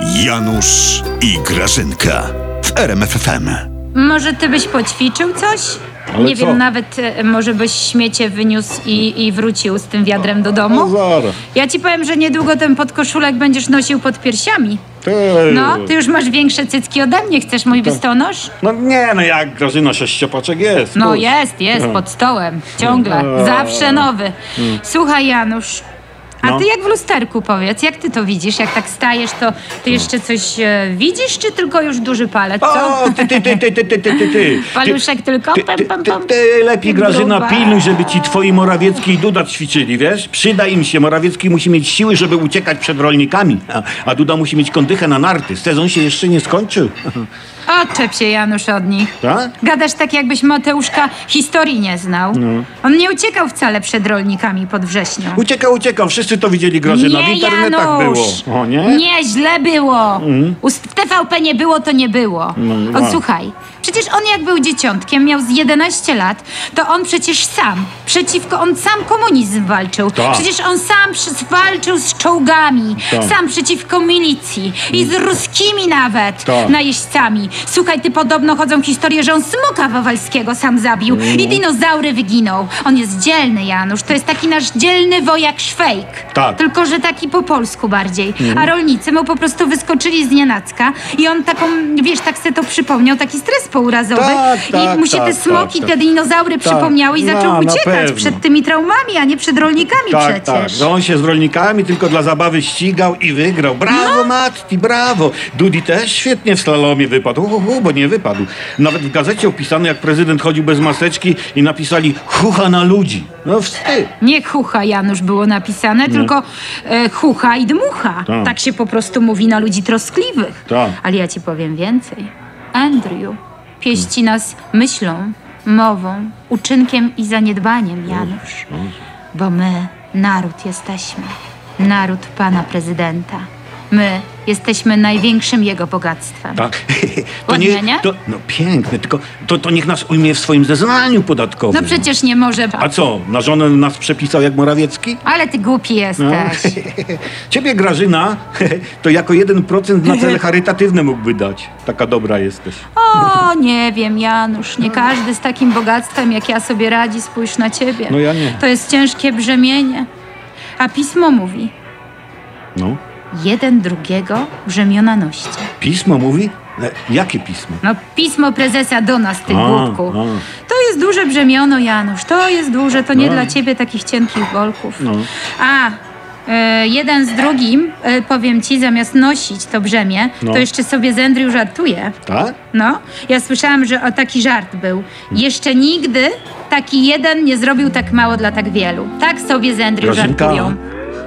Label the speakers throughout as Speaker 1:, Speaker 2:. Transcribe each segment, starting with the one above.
Speaker 1: Janusz i Grażynka w RMFFM.
Speaker 2: Może ty byś poćwiczył coś?
Speaker 3: Ale
Speaker 2: nie
Speaker 3: co?
Speaker 2: wiem, nawet e, może byś śmiecie wyniósł i, i wrócił z tym wiadrem do
Speaker 3: No
Speaker 2: domu.
Speaker 3: zaraz.
Speaker 2: Ja ci powiem, że niedługo ten podkoszulek będziesz nosił pod piersiami.
Speaker 3: Ty.
Speaker 2: No, ty już masz większe cycki ode mnie, chcesz mój biustonosz?
Speaker 3: No nie, no jak Grażyno, sześciopaczek jest.
Speaker 2: No
Speaker 3: kurczę.
Speaker 2: jest, jest, pod stołem, ciągle,
Speaker 3: No. Mm.
Speaker 2: zawsze nowy. Słuchaj Janusz, a
Speaker 3: No.
Speaker 2: ty jak w lusterku powiedz, jak ty to widzisz? Jak tak stajesz, to
Speaker 3: Mm.
Speaker 2: ty jeszcze coś e, widzisz, czy tylko już duży palec, co?
Speaker 3: O, ty, ty, ty, ty, ty, ty, ty, ty, ty.
Speaker 2: Paluszek tylko,
Speaker 3: Ty,
Speaker 2: pam,
Speaker 3: ty,
Speaker 2: pam,
Speaker 3: ty,
Speaker 2: pam.
Speaker 3: ty lepiej Grażyna
Speaker 2: Gruba.
Speaker 3: pilnuj, żeby ci twoi Morawiecki i Duda ćwiczyli, wiesz? Przyda im się. Morawiecki musi mieć siły, żeby uciekać przed rolnikami. A, a Duda musi mieć kondychę na narty. Sezon się jeszcze nie skończył.
Speaker 2: Odczep się Janusz od nich.
Speaker 3: Tak?
Speaker 2: Gadasz tak, jakbyś Mateuszka historii nie znał. On nie uciekał wcale przed rolnikami pod wrześnią.
Speaker 3: Uciekał, uciekał. Wszyscy to widzieli Grażyna. No, W
Speaker 2: nie,
Speaker 3: internetach
Speaker 2: Janusz!
Speaker 3: było. O nie? Mm.
Speaker 2: źle było. U, w TVP nie było, to nie było.
Speaker 3: No,
Speaker 2: o,
Speaker 3: a.
Speaker 2: słuchaj, przecież on jak był dzieciątkiem, miał z 11 lat, to on przecież sam, przeciwko, on sam komunizm walczył.
Speaker 3: Tak.
Speaker 2: Przecież on sam przy, walczył z czołgami,
Speaker 3: Tak. Mm.
Speaker 2: sam przeciwko milicji i z ruskimi nawet,
Speaker 3: Tak.
Speaker 2: najeźdźcami. Słuchaj, ty podobno chodzą historie, że on smoka wawalskiego sam zabił
Speaker 3: Mm.
Speaker 2: i dinozaury wyginął. On jest dzielny, Janusz, to jest taki nasz dzielny wojak szwejk.
Speaker 3: Tak. Mhm.
Speaker 2: Tylko, że taki po polsku bardziej. A rolnicy mu po prostu wyskoczyli z nienacka i on taką, wiesz, tak se to przypomniał, taki stres pourazowy.
Speaker 3: Tak, tak,
Speaker 2: I mu się
Speaker 3: tak,
Speaker 2: te smoki,
Speaker 3: tak, tak.
Speaker 2: te dinozaury przypomniały i
Speaker 3: No,
Speaker 2: zaczął
Speaker 3: na
Speaker 2: uciekać
Speaker 3: pewno.
Speaker 2: przed tymi traumami, a nie przed rolnikami
Speaker 3: Tak, tak.
Speaker 2: przecież.
Speaker 3: No on się z rolnikami tylko dla zabawy ścigał i wygrał. Brawo,
Speaker 2: No.
Speaker 3: Matti, brawo. Dudi też świetnie w slalomie wypadł. Hu, hu, hu, bo nie wypadł. Nawet w gazecie opisano, jak prezydent chodził bez maseczki i napisali chucha na ludzi. No wstyd.
Speaker 2: Nie chucha, Janusz, było napisane, tylko e, chucha i dmucha.
Speaker 3: Tak.
Speaker 2: Tak się po prostu mówi na ludzi troskliwych.
Speaker 3: Tak.
Speaker 2: Ale ja ci powiem więcej. Andrew pieści nas myślą, mową, uczynkiem i zaniedbaniem, Janusz. Bo my naród jesteśmy. Naród pana prezydenta. My jesteśmy największym jego bogactwem.
Speaker 3: Tak.
Speaker 2: Ładnie, nie?
Speaker 3: To, no piękne, tylko to, to niech nas ujmie w swoim zeznaniu
Speaker 2: No
Speaker 3: podatkowym.
Speaker 2: przecież nie może.
Speaker 3: A co, na żonę nas przepisał jak Morawiecki?
Speaker 2: Ale ty głupi jesteś.
Speaker 3: No. Ciebie, Grażyna, to jako 1% na cele charytatywne mógłby dać. Taka dobra jesteś.
Speaker 2: O, nie wiem, Janusz, nie każdy z takim bogactwem jak ja sobie radzi, spójrz na ciebie.
Speaker 3: No ja nie.
Speaker 2: To jest ciężkie brzemienie. A pismo mówi,
Speaker 3: No.
Speaker 2: jeden drugiego brzemiona noście.
Speaker 3: Pismo mówi? E, Jakie pismo?
Speaker 2: No pismo prezesa do nas, ty
Speaker 3: A,
Speaker 2: głupku.
Speaker 3: a.
Speaker 2: To jest duże brzemiono, Janusz, to jest duże, to nie
Speaker 3: No.
Speaker 2: dla ciebie takich cienkich bolków.
Speaker 3: No.
Speaker 2: A, y, jeden z drugim, y, powiem ci, zamiast nosić to brzemię,
Speaker 3: No.
Speaker 2: to jeszcze sobie z Andrew żartuje.
Speaker 3: Tak?
Speaker 2: No, ja słyszałam, że o taki żart był. Jeszcze nigdy taki jeden nie zrobił tak mało dla tak wielu. Tak sobie z Andrew
Speaker 3: Grażynka.
Speaker 2: żartują.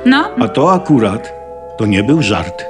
Speaker 2: No,
Speaker 3: A to akurat to nie był żart.